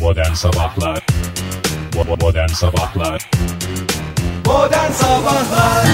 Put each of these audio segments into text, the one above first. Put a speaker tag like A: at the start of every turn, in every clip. A: Modern Sabahlar Bo- Modern Sabahlar
B: Modern Sabahlar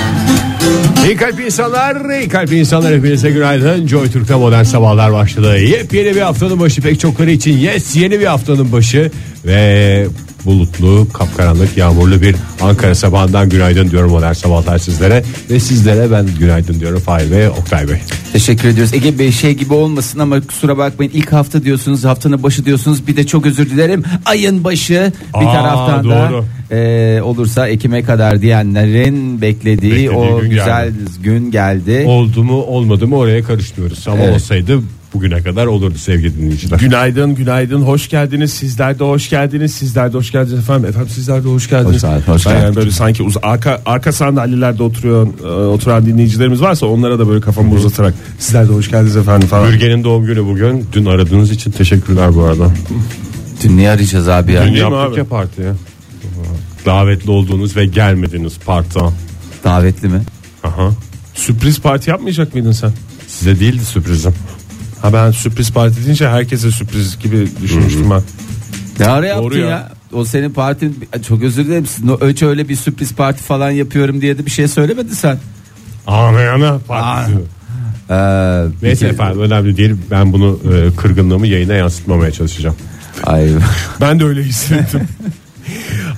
C: İyi kalp insanlar, iyi kalp insanlar hepinize günaydın. Joy Türk'te modern sabahlar başladı. Yepyeni bir haftanın başı pek çokları için yes yeni bir haftanın başı. Ve bulutlu, kapkaranlık, yağmurlu bir Ankara sabahından günaydın diyorum modern sabahlar sizlere. Ve sizlere ben günaydın diyorum Fahir ve Oktay Bey.
D: Teşekkür ediyoruz. Ege Bey şey gibi olmasın ama kusura bakmayın ilk hafta diyorsunuz haftanın başı diyorsunuz bir de çok özür dilerim ayın başı bir
C: Aa,
D: taraftan
C: doğru.
D: da e, olursa Ekim'e kadar diyenlerin beklediği,
C: Beklediği
D: o
C: gün
D: güzel gün geldi.
C: Oldu mu olmadı mı oraya karışmıyoruz. Ama
D: Evet.
C: olsaydı bugüne kadar olurdu sevgili dinleyiciler.
B: Günaydın günaydın hoş geldiniz sizler de hoş geldiniz sizler de hoş geldiniz efendim efendim sizler de hoş geldiniz.
D: Hoş geldin, hoş
B: Ben yani
D: geldin.
B: böyle sanki uz- arka, arka sandalyelerde oturuyor e, oturan dinleyicilerimiz varsa onlara da böyle kafamı uzatarak sizler de hoş geldiniz efendim falan.
C: Bürge'nin doğum günü bugün. Dün aradığınız için teşekkürler bu arada.
D: Dün ne arayacağız abi ya?
C: Dün
B: mi
C: yaptık
B: abi?
C: ya partiye. Davetli olduğunuz ve gelmediniz parta.
D: Davetli mi?
C: Aha.
B: Sürpriz parti yapmayacak mıydın sen?
C: Size değildi sürprizim.
B: Ha ben sürpriz parti deyince herkese sürpriz gibi düşünmüştüm ben.
D: Ne ara yaptın
B: Doğru ya.
D: ya. O senin partin çok özür dilerim. Sizin o- Hiç öyle bir sürpriz parti falan yapıyorum diye de bir şey söylemedin sen.
C: Anayana
D: partisi.
C: partisi.
D: Ee,
C: Neyse
D: bir-
C: efendim önemli değil. Ben bunu e, kırgınlığımı yayına yansıtmamaya çalışacağım.
D: Ay.
B: Ben de öyle hissettim.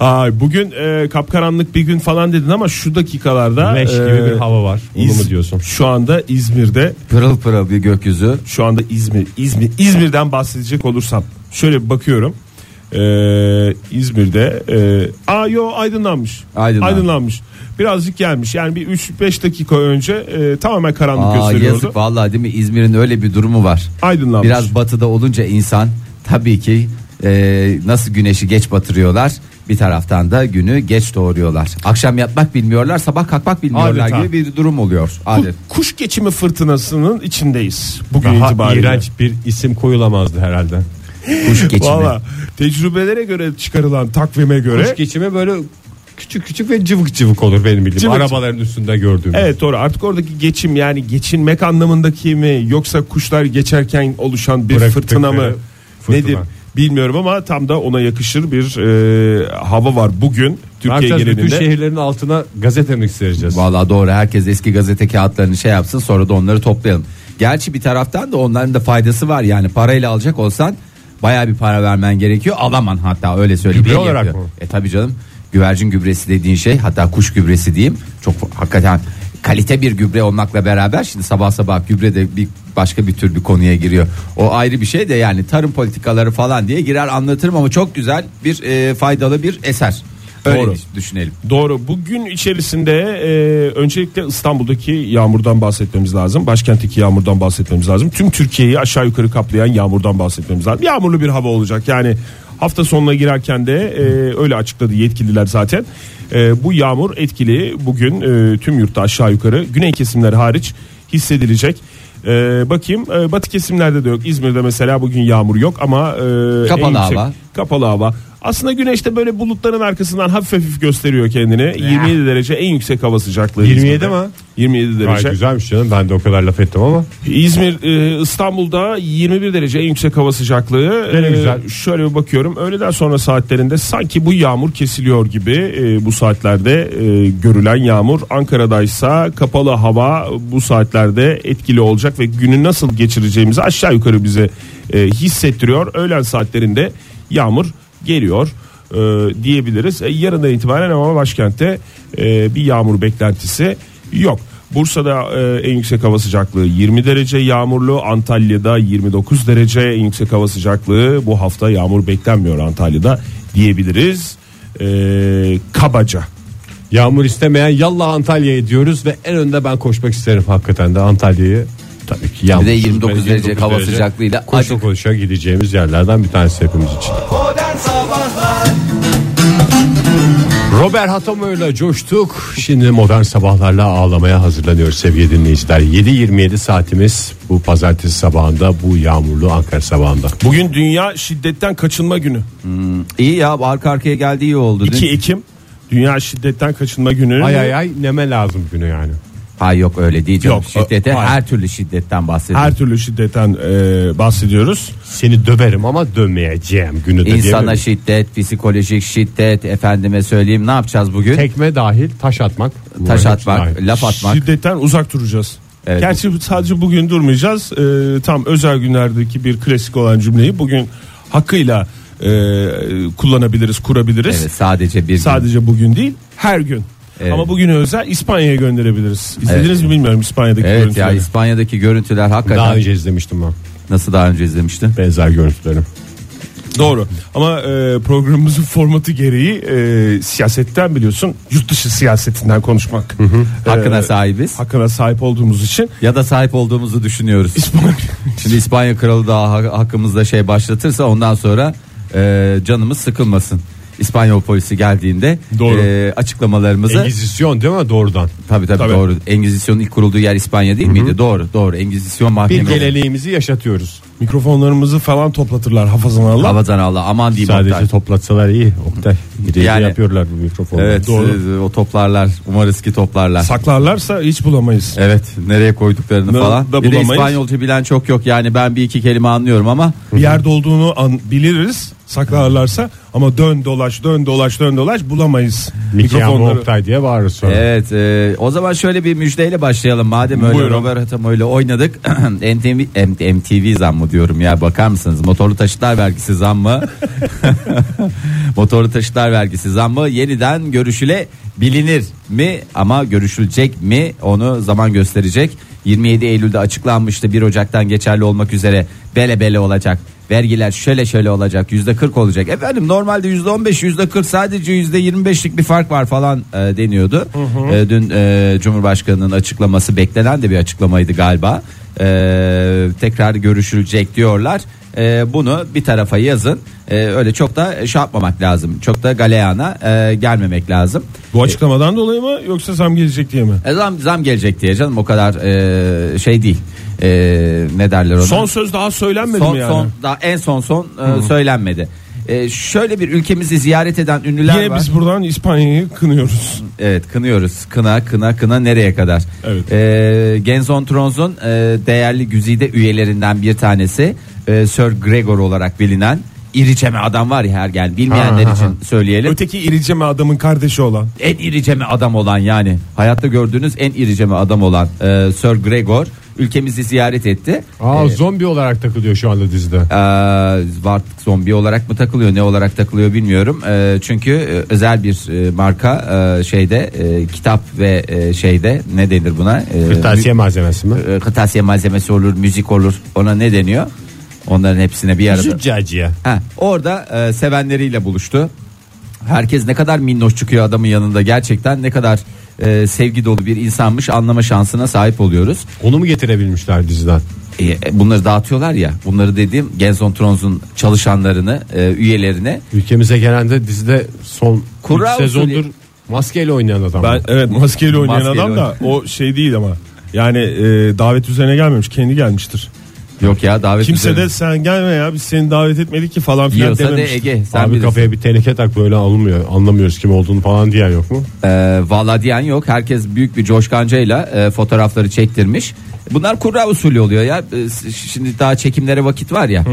B: Ay, bugün e, kapkaranlık bir gün falan dedin ama şu dakikalarda
C: Leş
B: e,
C: gibi bir hava var. Onu
B: İz-
C: mu diyorsun?
B: Şu anda İzmir'de
D: pırıl pırıl bir gökyüzü.
B: şu anda İzmir İzmir İzmir'den bahsedecek olursam şöyle bir bakıyorum. Ee, İzmir'de e, aa yo aydınlanmış.
D: Aydınlanmış.
B: Aydınlanmış. Birazcık gelmiş. Yani bir 3-5 dakika önce e, tamamen karanlık
D: Aa,
B: gösteriyordu.
D: yazık vallahi değil mi İzmir'in öyle bir durumu var.
B: Aydınlanmış.
D: Biraz batıda olunca insan tabii ki e, nasıl güneşi geç batırıyorlar bir taraftan da günü geç doğuruyorlar. Akşam yatmak bilmiyorlar sabah kalkmak bilmiyorlar
B: Adeta.
D: gibi bir durum oluyor.
B: Bu
D: Adet.
B: kuş geçimi fırtınasının içindeyiz bugün
C: Daha
B: itibariyle.
C: iğrenç bir isim koyulamazdı herhalde.
D: Kuş geçimi.
B: Valla tecrübelere göre çıkarılan takvime göre
C: Kuş geçimi böyle küçük küçük ve cıvık cıvık olur benim bildiğim.
B: Cıvık cıvık.
C: Arabaların üstünde gördüğüm.
B: Evet doğru artık oradaki geçim yani geçinmek anlamındaki mi yoksa kuşlar geçerken oluşan bir
C: Bıraktıkları
B: fırtına mı
C: fırtına.
B: nedir bilmiyorum ama tam da ona yakışır bir e, hava var bugün
C: Ne
B: Türkiye
C: yapacağız?
B: genelinde.
C: Bütün şehirlerin altına gazete mi sereceğiz?
D: Valla doğru herkes eski gazete kağıtlarını şey yapsın sonra da onları toplayalım. Gerçi bir taraftan da onların da faydası var yani parayla alacak olsan baya bir para vermen gerekiyor alaman hatta öyle söyleyeyim.
C: Gübre
D: Benim
C: olarak
D: yapıyor.
C: mı?
D: E tabi canım güvercin gübresi dediğin şey hatta kuş gübresi diyeyim çok hakikaten kalite bir gübre olmakla beraber şimdi sabah sabah gübre de bir başka bir tür bir konuya giriyor. O ayrı bir şey de yani tarım politikaları falan diye girer anlatırım ama çok güzel bir e, faydalı bir eser. Öyle
B: Doğru.
D: düşünelim.
B: Doğru bugün içerisinde e, öncelikle İstanbul'daki yağmurdan bahsetmemiz lazım. Başkentteki yağmurdan bahsetmemiz lazım. Tüm Türkiye'yi aşağı yukarı kaplayan yağmurdan bahsetmemiz lazım. Yağmurlu bir hava olacak yani hafta sonuna girerken de e, öyle açıkladı yetkililer zaten. E, bu yağmur etkili bugün e, tüm yurtta aşağı yukarı güney kesimler hariç hissedilecek. E, bakayım e, batı kesimlerde de yok İzmir'de mesela bugün yağmur yok ama e,
D: Kapalı
B: en yüksek-
D: hava.
B: Kapalı hava. Aslında güneş de böyle bulutların arkasından hafif hafif gösteriyor kendini. 27 derece en yüksek hava sıcaklığı.
C: 27
B: İzmir'de.
C: mi?
B: 27
C: Gayet
B: derece.
C: güzelmiş canım. Ben de o kadar laf ettim ama.
B: İzmir, e, İstanbul'da 21 derece en yüksek hava sıcaklığı. E,
C: Ne güzel.
B: Şöyle bir bakıyorum. Öğleden sonra saatlerinde sanki bu yağmur kesiliyor gibi e, bu saatlerde e, görülen yağmur. Ankara'daysa kapalı hava bu saatlerde etkili olacak ve günü nasıl geçireceğimizi aşağı yukarı bize e, hissettiriyor. Öğlen saatlerinde yağmur geliyor e, diyebiliriz. E, yarından itibaren ama başkentte e, bir yağmur beklentisi yok. Bursa'da e, en yüksek hava sıcaklığı 20 derece yağmurlu. Antalya'da 29 derece en yüksek hava sıcaklığı. Bu hafta yağmur beklenmiyor Antalya'da diyebiliriz. E, kabaca.
C: Yağmur istemeyen yallah Antalya'ya diyoruz ve en önde ben koşmak isterim hakikaten de Antalya'yı. Tabii ki yağmur.
D: Bir de 29 derece hava sıcaklığıyla
C: koşa koşa gideceğimiz yerlerden bir tanesi hepimiz için.
B: Modern Sabahlar
C: Robert Hatamoy'la coştuk. Şimdi modern sabahlarla ağlamaya hazırlanıyoruz sevgili dinleyiciler. 7.27 saatimiz bu pazartesi sabahında bu yağmurlu Ankara sabahında.
B: Bugün Dünya Şiddetten Kaçınma Günü.
D: İyi ya arka arkaya geldi iyi oldu. Dün-
B: 2 Ekim Dünya Şiddetten Kaçınma Günü.
C: Ay ay ay neme lazım günü yani.
D: Ha yok öyle değil. Yok,
B: Yok,
D: Şiddete
B: o- hayır.
D: her türlü şiddetten bahsediyorum.
B: Her türlü şiddetten e, bahsediyoruz.
C: Seni döverim ama dönmeyeceğim günü de
D: İnsana
C: diyemem.
D: şiddet, psikolojik şiddet, efendime söyleyeyim ne yapacağız bugün?
C: Tekme dahil taş atmak.
D: Taş
C: Bunlar
D: atmak,
C: hepsi dahil.
D: laf atmak.
B: Şiddetten uzak duracağız.
D: Evet.
B: Gerçi bu- sadece bugün durmayacağız. E, tam özel günlerdeki bir klasik olan cümleyi bugün hakkıyla e, kullanabiliriz, kurabiliriz.
D: Evet, sadece bir gün.
B: Sadece bugün değil, her gün.
D: Evet.
B: Ama bugün özel İspanya'ya gönderebiliriz. İzlediniz
D: Evet.
B: mi bilmiyorum İspanya'daki
D: Evet ya
B: görüntüleri.
D: İspanya'daki görüntüler hakikaten
C: Daha önce izlemiştim ben
D: nasıl daha önce izlemiştin?
C: benzer görüntüleri.
B: Doğru ama e, programımızın formatı gereği e, siyasetten biliyorsun yurt dışı siyasetinden konuşmak.
D: Hakkına
B: E,
D: sahibiz.
B: Hakkına sahip olduğumuz için
D: Ya da sahip olduğumuzu düşünüyoruz.
B: İspanya
D: Şimdi İspanya kralı daha ha- hakkımızda şey başlatırsa ondan sonra e, canımız sıkılmasın. İspanyol polisi geldiğinde
B: Doğru.
D: e, açıklamalarımızı
C: Engizisyon değil mi doğrudan?
D: tabii, tabii
B: Tabii.
D: doğru. Engizisyon'un ilk kurulduğu yer İspanya değil miydi? Doğru, doğru. Engizisyon
C: Bir
D: mahkemesi.
C: geleneğimizi yaşatıyoruz.
B: mikrofonlarımızı falan toplatırlar hafazan Allah.
D: Havadan Allah aman diyeyim.
C: Sadece
D: Oktay.
C: toplatsalar iyi. Oktay. Bireyi
D: Yani-
C: yapıyorlar bu mikrofonu.
D: Evet,
B: Doğru.
D: e, o toplarlar. Umarız ki toplarlar.
B: Saklarlarsa hiç bulamayız.
D: Evet nereye koyduklarını
B: Ne-
D: falan.
B: da
D: Bir de
B: bulamayız.
D: İspanyolca bilen çok yok yani ben bir iki kelime anlıyorum ama
B: Bir yerde olduğunu an, biliriz saklarlarsa ama dön dolaş dön dolaş dön dolaş bulamayız.
C: Mikrofonları.
B: Mikrofonları
C: Oktay diye bağırır sonra.
D: evet e, o zaman şöyle bir müjdeyle başlayalım madem öyle
B: Buyurun.
D: Robert Hatamo ile oynadık MTV, M- MTV zammı diyorum ya bakar mısınız motorlu taşıtlar vergisi zammı motorlu taşıtlar vergisi zammı yeniden görüşüle bilinir mi ama görüşülecek mi onu zaman gösterecek 27 Eylül'de açıklanmıştı 1 Ocak'tan geçerli olmak üzere bele bele olacak vergiler şöyle şöyle olacak yüzde 40 olacak efendim normalde yüzde 15 yüzde 40 sadece yüzde 25'lik bir fark var falan e, deniyordu E, dün e, Cumhurbaşkanı'nın açıklaması beklenen de bir açıklamaydı galiba E, tekrar görüşülecek diyorlar E, bunu bir tarafa yazın E, öyle çok da şey yapmamak lazım çok da galeyana e, gelmemek lazım
B: Bu açıklamadan dolayı mı yoksa zam gelecek diye mi?
D: e, zam, zam gelecek diye canım o kadar e, şey değil E, ne derler ona
B: Son söz daha söylenmedi
D: son,
B: mi yani?
D: son daha en son son e, söylenmedi. E, şöyle bir ülkemizi ziyaret eden ünlüler
B: Yine
D: var.
B: biz buradan İspanya'yı kınıyoruz.
D: Evet kınıyoruz. Kına kına kına nereye kadar?
B: Evet.
D: E, Genzon Tronz'un e, değerli güzide üyelerinden bir tanesi e, Sir Gregor olarak bilinen iriceme adam var ya her gel bilmeyenler için söyleyelim.
B: Öteki iriceme adamın kardeşi olan.
D: en iriceme adam olan yani hayatta gördüğünüz en iriceme adam olan e, Sir Gregor ülkemizi ziyaret etti.
C: Aa zombi olarak takılıyor şu anda dizide.
D: Ee, artık zombi olarak mı takılıyor ne olarak takılıyor bilmiyorum Ee, çünkü e, özel bir e, marka e, şeyde e, kitap ve e, şeyde ne denir buna Ee,
C: Kırtasiye malzemesi mi?
D: mü- e, kırtasiye malzemesi olur müzik olur ona ne deniyor onların hepsine bir arada
C: Züccaciye.
D: Ha, orada e, sevenleriyle buluştu herkes ne kadar minnoş çıkıyor adamın yanında gerçekten ne kadar e, sevgi dolu bir insanmış anlama şansına sahip oluyoruz
C: Onu mu getirebilmişler diziden?
D: e, bunları dağıtıyorlar ya bunları dediğim Genzon Tronz'un çalışanlarını e, üyelerine
C: Ülkemize gelen de dizide son
D: Kura
C: üç sezondur
D: usulü.
C: maskeyle oynayan adam.
B: Ben evet maskeyle oynayan
D: Maskeyle
B: adam da o şey değil ama. Yani e, davet üzerine gelmemiş, kendi gelmiştir.
D: Yok ya davet
B: Kimse
D: üzerine.
B: de sen gelme ya biz seni davet etmedik ki falan filan
D: yiyorsa de
B: dememiştir.
D: Ege sen
C: Abi
D: bilirsin.
C: kafaya bir teneke tak böyle alınmıyor. Anlamıyoruz kim olduğunu falan diyen yok mu?
D: Ee, valla diyen yok. Herkes büyük bir coşkancayla e, fotoğrafları çektirmiş. Bunlar kura usulü oluyor ya. Ee, s- Şimdi daha çekimlere vakit var ya.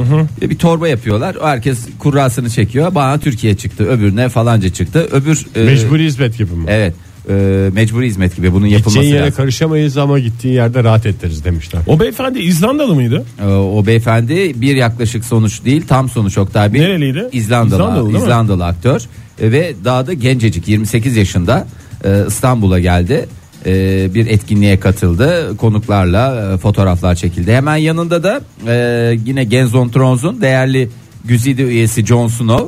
D: E, Bir torba yapıyorlar. O Herkes kurrasını çekiyor. Bana Türkiye çıktı, öbürüne falanca çıktı. Öbür e,
C: Mecburi hizmet gibi mi?
D: Evet. e, mecburi hizmet gibi bunun yapılması
C: Gideceğin yere
D: lazım.
C: karışamayız ama gittiğin yerde rahat ederiz demişler.
B: O beyefendi İzlandalı mıydı?
D: Ee, o beyefendi bir yaklaşık sonuç değil tam sonuç Oktay Bey.
B: Nereliydi?
D: İzlandalı,
B: İzlandalı değil
D: İzlandalı,
B: mi?
D: aktör E, ve daha da gencecik 28 yaşında e, İstanbul'a geldi. E, bir etkinliğe katıldı konuklarla e, fotoğraflar çekildi hemen yanında da e, yine Genzon Tronz'un değerli güzide üyesi Jon Snow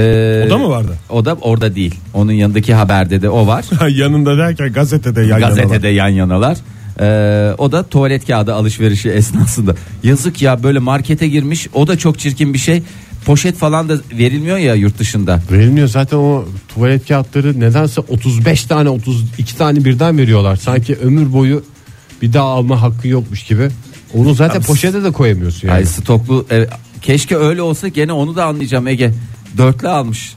D: E,
B: O da mı vardı?
D: o da orada değil onun yanındaki haberde de o var
B: Yanında derken gazetede yan
D: gazetede yan
B: yana.
D: yanalar. Ee, o da tuvalet kağıdı alışverişi esnasında. Yazık ya böyle markete girmiş. O da çok çirkin bir şey. Poşet falan da verilmiyor ya yurt dışında.
C: Verilmiyor zaten o tuvalet kağıtları nedense 35 tane 32 tane birden veriyorlar. Sanki ömür boyu bir daha alma hakkı yokmuş gibi. Onu zaten poşete de koyamıyorsun yani.
D: Ay stoklu e, keşke öyle olsa gene onu da anlayacağım Ege. Dörtlü almış.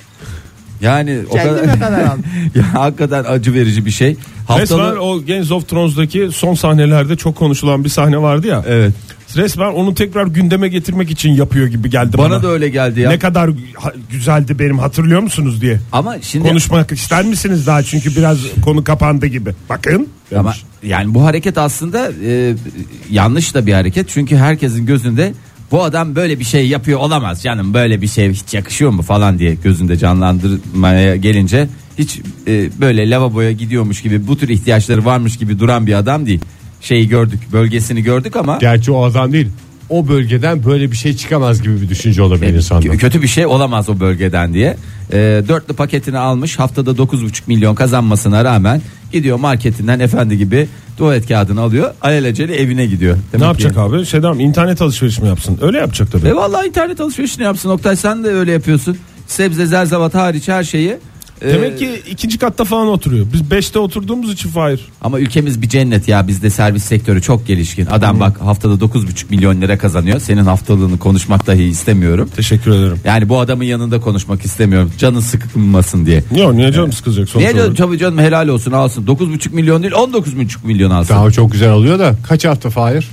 D: Yani o
E: Kendime kadar aldım.
D: ya hakikaten acı verici bir şey.
B: Resmen
D: Haftalı
B: o Games of Thrones'daki son sahnelerde çok konuşulan bir sahne vardı ya.
D: Evet.
B: Resmen onu tekrar gündeme getirmek için yapıyor gibi geldi bana.
D: bana da öyle geldi ya.
B: Ne kadar ha- güzeldi benim hatırlıyor musunuz diye.
D: Ama şimdi
B: Konuşmak ister misiniz daha çünkü biraz konu kapandı gibi. Bakın.
D: Ama yani bu hareket aslında e, yanlış da bir hareket. Çünkü herkesin gözünde bu adam böyle bir şey yapıyor olamaz canım böyle bir şey hiç yakışıyor mu falan diye gözünde canlandırmaya gelince hiç e, böyle lavaboya gidiyormuş gibi bu tür ihtiyaçları varmış gibi duran bir adam değil. Şeyi gördük bölgesini gördük ama
C: Gerçi o adam değil. O bölgeden böyle bir şey çıkamaz gibi bir düşünce olabilir insanda.
D: Kö- Kötü bir şey olamaz o bölgeden diye. Ee, dörtlü paketini almış haftada 9,5 milyon kazanmasına rağmen gidiyor marketinden efendi gibi tuvalet kağıdını alıyor. Alelacele evine gidiyor. Demek
B: Ne
D: ki-
B: yapacak abi? Sedam internet alışverişi mi yapsın? Öyle yapacak tabii.
D: E vallahi internet alışverişini yapsın Oktay sen de öyle yapıyorsun. Sebze zerzevat hariç her şeyi. Ee,
B: Demek ki ikinci katta falan oturuyor. Biz beşte oturduğumuz için Fahir.
D: Ama ülkemiz bir cennet ya bizde servis sektörü çok gelişkin. Adam bak haftada 9,5 milyon lira kazanıyor. Senin haftalığını konuşmak dahi istemiyorum.
B: Teşekkür ederim.
D: Yani bu adamın yanında konuşmak istemiyorum. Canın sıkılmasın diye.
B: Yok niye canım sıkılacak sonuç
D: Niye canım
B: olarak?
D: tabii canım helal olsun alsın. 9,5 milyon değil 19,5 milyon alsın.
C: Daha çok güzel alıyor da kaç hafta Fahir?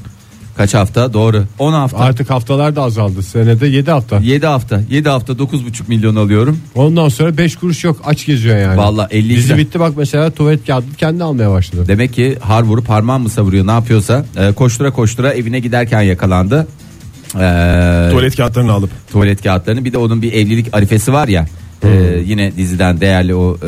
D: Kaç hafta? Doğru. 10 hafta.
C: Artık haftalar da azaldı. Senede 7 hafta.
D: 7 hafta. 7 hafta 9,5 milyon alıyorum.
C: Ondan sonra 5 kuruş yok. Aç geziyor yani.
D: Vallahi 50
C: Dizi
D: güzel.
C: bitti bak mesela tuvalet kağıdını kendi almaya başladı.
D: Demek ki har vurup parmağı mı savuruyor ne yapıyorsa. Ee, koştura koştura evine giderken yakalandı. Ee,
B: Tuvalet kağıtlarını alıp.
D: tuvalet kağıtlarını bir de onun bir evlilik arifesi var ya. Ee, yine diziden değerli o e,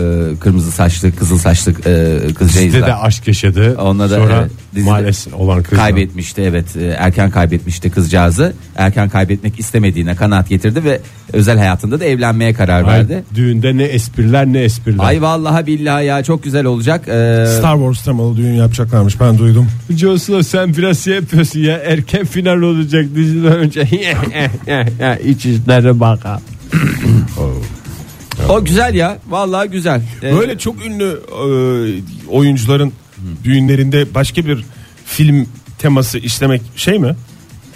D: kırmızı saçlı kızıl saçlı e, kızcağız
C: Dizide
D: var.
C: de aşk yaşadı.
D: Ona da,
C: sonra
D: evet, dizide-
C: maalesef olan kız.
D: kaybetmişti evet e, erken kaybetmişti kızcağızı erken kaybetmek istemediğine kanaat getirdi ve özel hayatında da evlenmeye karar
C: Ay,
D: verdi.
C: Düğünde ne espriler ne espriler.
D: Ay vallahi billahi ya çok güzel olacak. Ee,
B: Star Wars temalı düğün yapacaklarmış ben duydum.
C: Jocelyn sen biraz şey yapıyorsun ya erken final olacak diziden önce. İç işlere baka.
D: o güzel ya vallahi güzel. Ee,
B: Böyle çok ünlü e, oyuncuların düğünlerinde başka bir film teması işlemek şey mi?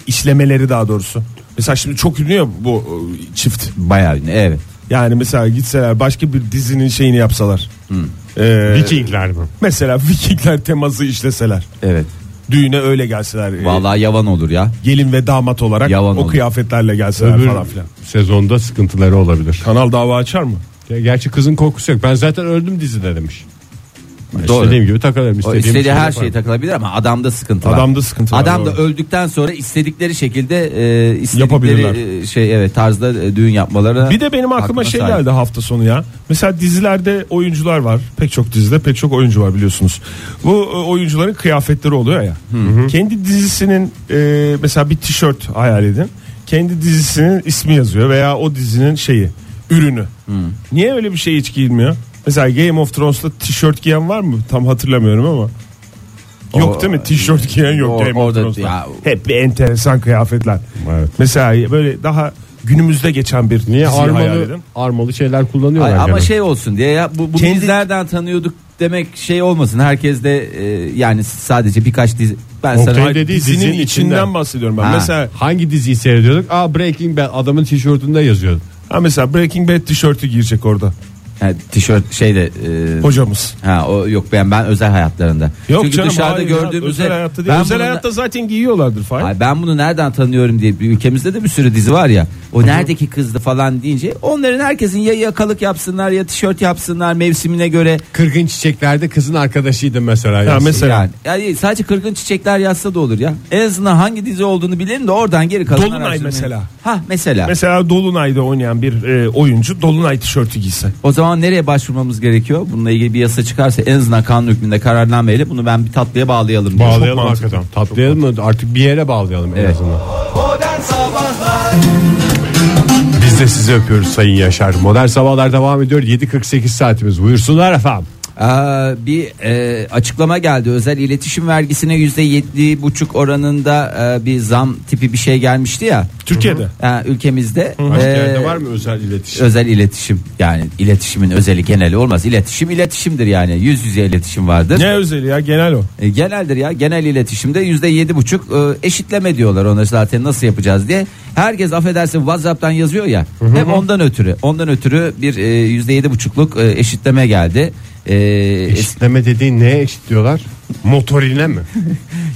B: İşlemeleri daha doğrusu. Mesela şimdi çok ünlü ya bu e, çift.
D: bayağı ünlü, evet.
B: Yani mesela gitseler başka bir dizinin şeyini yapsalar. E,
C: Vikingler mi?
B: Mesela Vikingler teması işleseler.
D: Evet.
B: Düğüne öyle gelseler. e,
D: Vallahi yavan olur ya.
B: Gelin ve damat olarak
D: Yavan
B: o
D: oldu.
B: kıyafetlerle gelseler
C: Öbür
B: falan filan.
C: sezonda sıkıntıları olabilir.
B: Kanal dava açar mı?
C: Ya Gerçi kızın korkusu yok. Ben zaten öldüm dizide demiş.
B: E,
C: Ben
D: Doğru.
C: İstediğim gibi takılırım.
D: O
C: İstediğim
D: istediği her
C: şey
D: şeye
C: yaparım.
D: takılabilir ama adamda sıkıntı var.
B: Adamda sıkıntı var,
D: Adam da
B: doğru.
D: öldükten sonra istedikleri şekilde e, istedikleri
B: Yapabilirler.
D: e, şey evet tarzda e, düğün yapmaları.
B: Bir de benim aklıma şey
D: sahip.
B: geldi hafta sonu ya. Mesela dizilerde oyuncular var. Pek çok dizide pek çok oyuncu var biliyorsunuz. Bu e, oyuncuların kıyafetleri oluyor ya. Kendi dizisinin e, mesela bir tişört hayal edin. Kendi dizisinin ismi yazıyor veya o dizinin şeyi ürünü. Niye öyle bir şey hiç giyilmiyor? Mesela Game of Thrones'ta tişört giyen var mı? Tam hatırlamıyorum ama. Yok
D: O-
B: değil mi? Tişört giyen yok
D: O-
B: Game of
D: orada
B: Thrones'ta.
D: ya-
B: Hep bir enteresan kıyafetler.
C: Evet.
B: Mesela böyle daha günümüzde geçen bir
C: Niye
B: diziyi hayal
C: armalı,
B: edin.
C: armalı şeyler kullanıyorlar.
D: Ay, ama
C: gene.
D: şey olsun diye ya bu, bu
B: Kendi-
D: bizlerden tanıyorduk demek şey olmasın. Herkes de e, yani sadece birkaç dizi ben
C: Oktay
D: sana
C: dedi- Dediği
B: dizinin,
C: dizinin
B: içinden,
C: içinden
B: bahsediyorum ben.
D: Ha.
B: Mesela
C: Hangi diziyi seyrediyorduk? Aa Breaking Bad adamın tişörtünde yazıyordu.
B: ha mesela Breaking Bad tişörtü girecek orada
D: Ha, tişört şeyde e,
B: hocamız.
D: ha o yok ben ben özel hayatlarında.
B: Yok
D: Çünkü
B: canım
D: dışarıda
B: hayır ya,
D: gördüğümüzde
B: özel hayatta değil.
D: ben
B: özel
D: bunu-
B: hayatta zaten giyiyorlardır falan.
D: Ay, ben bunu nereden tanıyorum diye bir ülkemizde de bir sürü dizi var ya. O neredeki kızdı falan deyince onların herkesin ya yakalık yapsınlar ya tişört yapsınlar mevsimine göre.
C: Kırgın çiçeklerde kızın arkadaşıydı mesela.
B: Ya
C: yazsın.
B: mesela
D: Yani, yani sadece kırgın çiçekler yazsa da olur ya. En azından hangi dizi olduğunu bilelim de oradan geri kalan
B: Dolunay
D: araştırmayı-
B: mesela.
D: Ha mesela.
B: mesela Dolunay'da oynayan bir e, oyuncu Dolunay tişörtü giyse.
D: O zaman nereye başvurmamız gerekiyor? Bununla ilgili bir yasa çıkarsa en azından kanun hükmünde kararnameyle bunu ben bir tatlıya bağlayalım. diyorum.
C: Bağlayalım
B: Çok mantıklı.
C: hakikaten. Tatlayalım mı? Artık bir yere bağlayalım en
D: Evet.
C: azından. Biz de sizi öpüyoruz Sayın Yaşar. Modern Sabahlar devam ediyor. 7.48 saatimiz. Buyursunlar efendim.
D: Aa, bir e, açıklama geldi. Özel iletişim vergisine yüzde yedi buçuk oranında e, bir zam tipi bir şey gelmişti ya
B: Türkiye'de.
D: Ha, ülkemizde.
C: Başka
D: Ee,
C: yerde var mı özel iletişim?
D: Özel iletişim yani iletişimin özeli geneli olmaz. İletişim iletişimdir yani yüz yüze iletişim vardır.
B: Ne özeli ya genel o.
D: E, geneldir ya genel iletişimde yüzde yedi buçuk e, eşitleme diyorlar ona zaten nasıl yapacağız diye. Herkes affedersin WhatsApp'tan yazıyor ya hem ondan ötürü ondan ötürü bir e, yüzde yedi buçukluk e, eşitleme geldi. E, es-
C: Eşitleme dediğin neye eşitliyorlar? Motorine mi?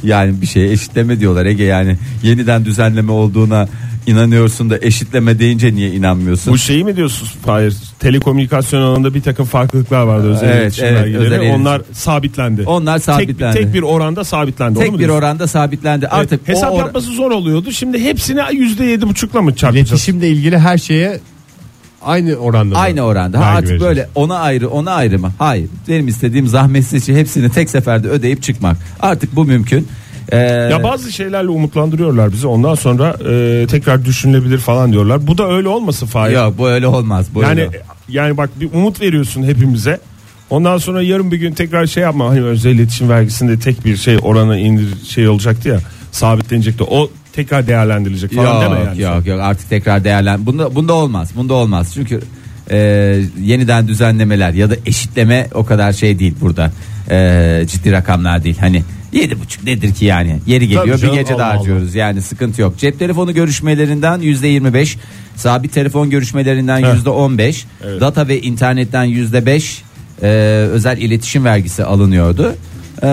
D: yani bir şey eşitleme diyorlar Ege yani yeniden düzenleme olduğuna inanıyorsun da eşitleme deyince niye inanmıyorsun?
B: Bu şeyi mi diyorsunuz? Hayır. Telekomünikasyon alanında bir takım farklılıklar vardı özel
D: Evet,
B: iletişim
D: evet,
B: vergileri.
D: özel iletişim.
B: Onlar sabitlendi.
D: Onlar
B: Tek-
D: sabitlendi.
B: Tek, bir oranda sabitlendi. onu mu
D: Tek bir
B: diyorsun?
D: oranda sabitlendi.
B: Evet,
D: Artık
B: hesap
D: o or-
B: yapması zor oluyordu. Şimdi hepsini yüzde yedi buçukla mı çarpacağız?
C: İletişimle ilgili her şeye aynı oranda. mı?
D: Aynı oranda. Ha,
C: Vergi
D: artık
C: vereceğiz.
D: böyle ona ayrı ona ayrı mı? Hayır. Benim istediğim zahmetsiz şey hepsini tek seferde ödeyip çıkmak. Artık bu mümkün. Ee,
B: Ya bazı şeylerle umutlandırıyorlar bizi. Ondan sonra e, tekrar düşünülebilir falan diyorlar. Bu da öyle olmasın Fahir.
D: yok bu öyle olmaz. Bu
B: yani
D: öyle.
B: yani bak bir umut veriyorsun hepimize. Ondan sonra yarın bir gün tekrar şey yapma. Hani özel iletişim vergisinde tek bir şey oranı indir şey olacaktı ya. Sabitlenecekti. O tekrar değerlendirilecek
C: Şey
B: falan
D: yok,
B: deme yani.
D: Yok yok artık tekrar değerlen. Bunda bunda olmaz. Bunda olmaz. Çünkü e, yeniden düzenlemeler ya da eşitleme o kadar şey değil burada. E, ciddi rakamlar değil. Hani yedi buçuk nedir ki yani? Yeri geliyor
C: Tabii canım,
D: bir gece
C: Allah
D: daha harcıyoruz. Yani sıkıntı yok. Cep telefonu görüşmelerinden yüzde yirmi beş. Sabit telefon görüşmelerinden yüzde on beş. Data ve internetten yüzde beş. e, özel iletişim vergisi alınıyordu. E,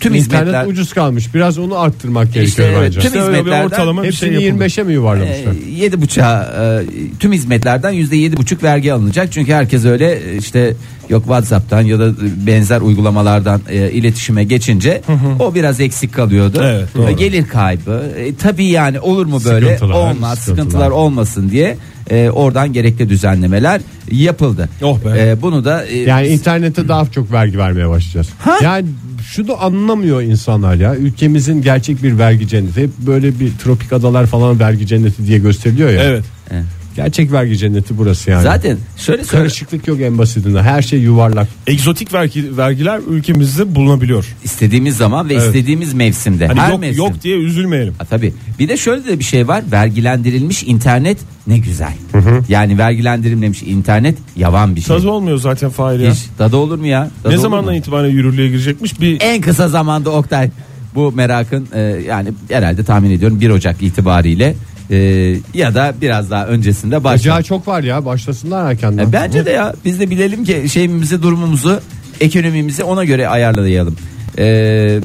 D: tüm
C: İnternet
D: hizmetler
C: ucuz kalmış. Biraz onu arttırmak gerekiyor
D: evet,
C: bence.
D: tüm
B: İşte öyle bir
D: hizmetlerden
B: ortalama bir şey
C: Hepsini
B: yapıldı.
C: 25'e mi yuvarlamışlar?
D: Ee, Yedi buçuğa e, tüm hizmetlerden yüzde yedi buçuk vergi alınacak. Çünkü herkes öyle e, işte yok WhatsApp'tan ya da benzer uygulamalardan e, iletişime geçince o biraz eksik kalıyordu.
B: Evet, doğru.
D: E, Gelir kaybı. E, tabii yani olur mu böyle?
C: Sıkıntılar,
D: Olmaz.
C: sıkıntılar.
D: Sıkıntılar, olmasın diye e, oradan gerekli düzenlemeler yapıldı.
B: Oh be.
D: E, bunu da e,
C: Yani internete daha çok vergi vermeye başlayacağız. Yani şunu anlamıyor insanlar ya. Ülkemizin gerçek bir vergi cenneti. Hep böyle bir tropik adalar falan vergi cenneti diye gösteriliyor ya.
B: Evet.
D: e,
C: Gerçek vergi cenneti burası yani.
D: zaten şöyle söyle
C: karışıklık yok en basitinden. Her şey yuvarlak.
B: Egzotik vergi, vergiler ülkemizde bulunabiliyor.
D: istediğimiz zaman ve istediğimiz mevsimde.
B: Hani
D: her
B: yok
D: mevsim.
B: yok diye üzülmeyelim.
D: Ha, tabii. Bir de şöyle de bir şey var. Vergilendirilmiş internet ne güzel. Yani vergilendirilmemiş internet yavan bir şey.
B: Saz olmuyor zaten Fahir ya.
D: Hiç dadı olur mu ya? Dadı
B: ne
D: olur
B: zamandan
D: mu? E-
B: itibaren yürürlüğe girecekmiş? Bir
D: En kısa zamanda Oktay. Bu merakın e, yani herhalde tahmin ediyorum 1 Ocak itibariyle e, ya da biraz daha öncesinde
C: Acayip
D: başlar.
C: çok var ya başlasınlar erkenden.
D: E, bence de ya biz de bilelim ki şeyimizi durumumuzu ekonomimizi ona göre ayarlayalım. E,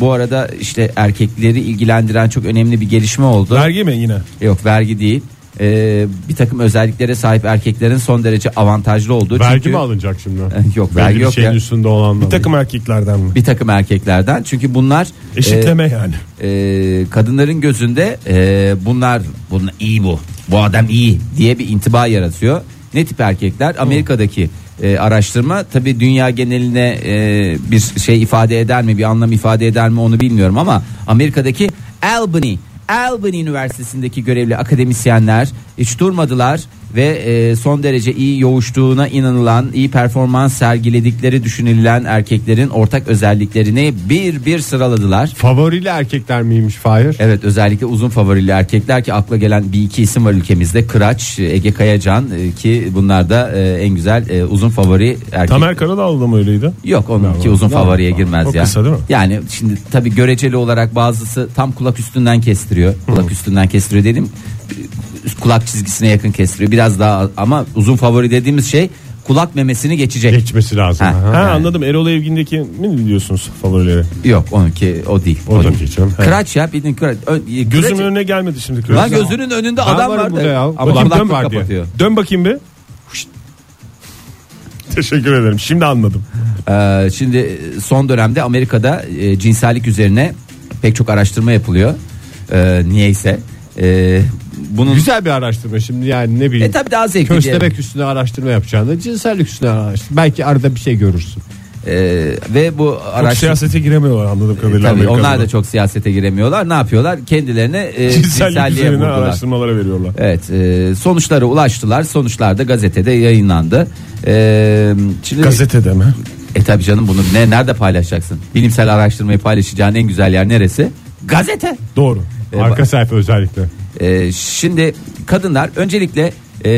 D: bu arada işte erkekleri ilgilendiren çok önemli bir gelişme oldu.
B: vergi mi yine?
D: Yok vergi değil. Ee, bir takım özelliklere sahip erkeklerin son derece avantajlı olduğu.
C: Vergi
D: çünkü, Eh,
C: mi alınacak şimdi?
D: Yok
C: Belli
D: vergi
C: bir
D: yok
C: şeyin
D: ya.
C: üstünde olanlar.
B: Bir takım erkeklerden mi?
D: Bir takım erkeklerden çünkü bunlar
B: Eşitleme yani.
D: e, e, kadınların gözünde e, bunlar bunlar iyi bu bu adam iyi diye bir intiba yaratıyor. Ne tip erkekler? Amerika'daki e, araştırma tabi dünya geneline e, bir şey ifade eder mi bir anlam ifade eder mi onu bilmiyorum ama Amerika'daki Albany Albany Üniversitesi'ndeki görevli akademisyenler hiç durmadılar ve e, son derece iyi yoğuştuğuna inanılan, iyi performans sergiledikleri düşünülen erkeklerin ortak özelliklerini bir bir sıraladılar.
C: Favorili erkekler miymiş Fahir?
D: Evet özellikle uzun favorili erkekler ki akla gelen bir iki isim var ülkemizde. Kıraç, Ege Kayacan e, ki bunlar da e, en güzel e, uzun favori erkek.
B: Tamer Karadağlı da mı öyleydi?
D: Yok onun ki uzun favoriye girmez
B: O
D: ya.
B: kısa değil mi?
D: Yani şimdi tabii göreceli olarak bazısı tam kulak üstünden kestiriyor. Kulak üstünden kestiriyor dedim. Kulak çizgisine yakın kestiriyor. Biraz daha ama uzun favori dediğimiz şey kulak memesini geçecek.
C: Geçmesi lazım.
D: Ha.
C: Aha.
B: Ha anladım. Erol Evgin'deki mi diyorsunuz favorileri?
D: Yok onunki o değil. O
C: O da
D: değil.
C: geçelim. Ha.
D: Kıraç ya bildiğin kıraç. Ö-
B: Gözümün
D: kıraç-
B: önüne gelmedi şimdi.
D: Lan gözünün önünde adam
C: varım
D: var.
C: burada ya.
D: da- Ama
C: Bakayım ben
D: kulaklık
C: var diye.
D: kapatıyor.
B: Dön bakayım bir. Huşt. Teşekkür ederim. Şimdi anladım.
D: Ee, şimdi son dönemde Amerika'da e, cinsellik üzerine pek çok araştırma yapılıyor. Ee, niyeyse. Ee, bunun
C: Güzel bir araştırma şimdi yani ne bileyim.
D: E tabii daha zevkli.
C: Köstebek üstüne araştırma yapacağını cinsellik üstüne araştırma. Belki arada bir şey görürsün.
D: E, ve bu
B: Çok
D: araştırma...
B: siyasete giremiyorlar anladığım kadarıyla.
D: E, Tabii
B: Amerika'da.
D: onlar da çok siyasete giremiyorlar. Ne yapıyorlar? Kendilerine e,
B: cinsellik
D: cinselliğe
B: üzerine
D: vurdular.
B: araştırmalara veriyorlar.
D: Evet, e, sonuçlara ulaştılar. Sonuçlar da gazetede yayınlandı. E, şimdi
B: Gazetede mi?
D: e tabii canım bunu ne nerede paylaşacaksın? Bilimsel araştırmayı paylaşacağın en güzel yer neresi? Gazete.
B: Doğru.
C: Arka sayfa özellikle.
D: Ee, şimdi kadınlar öncelikle e,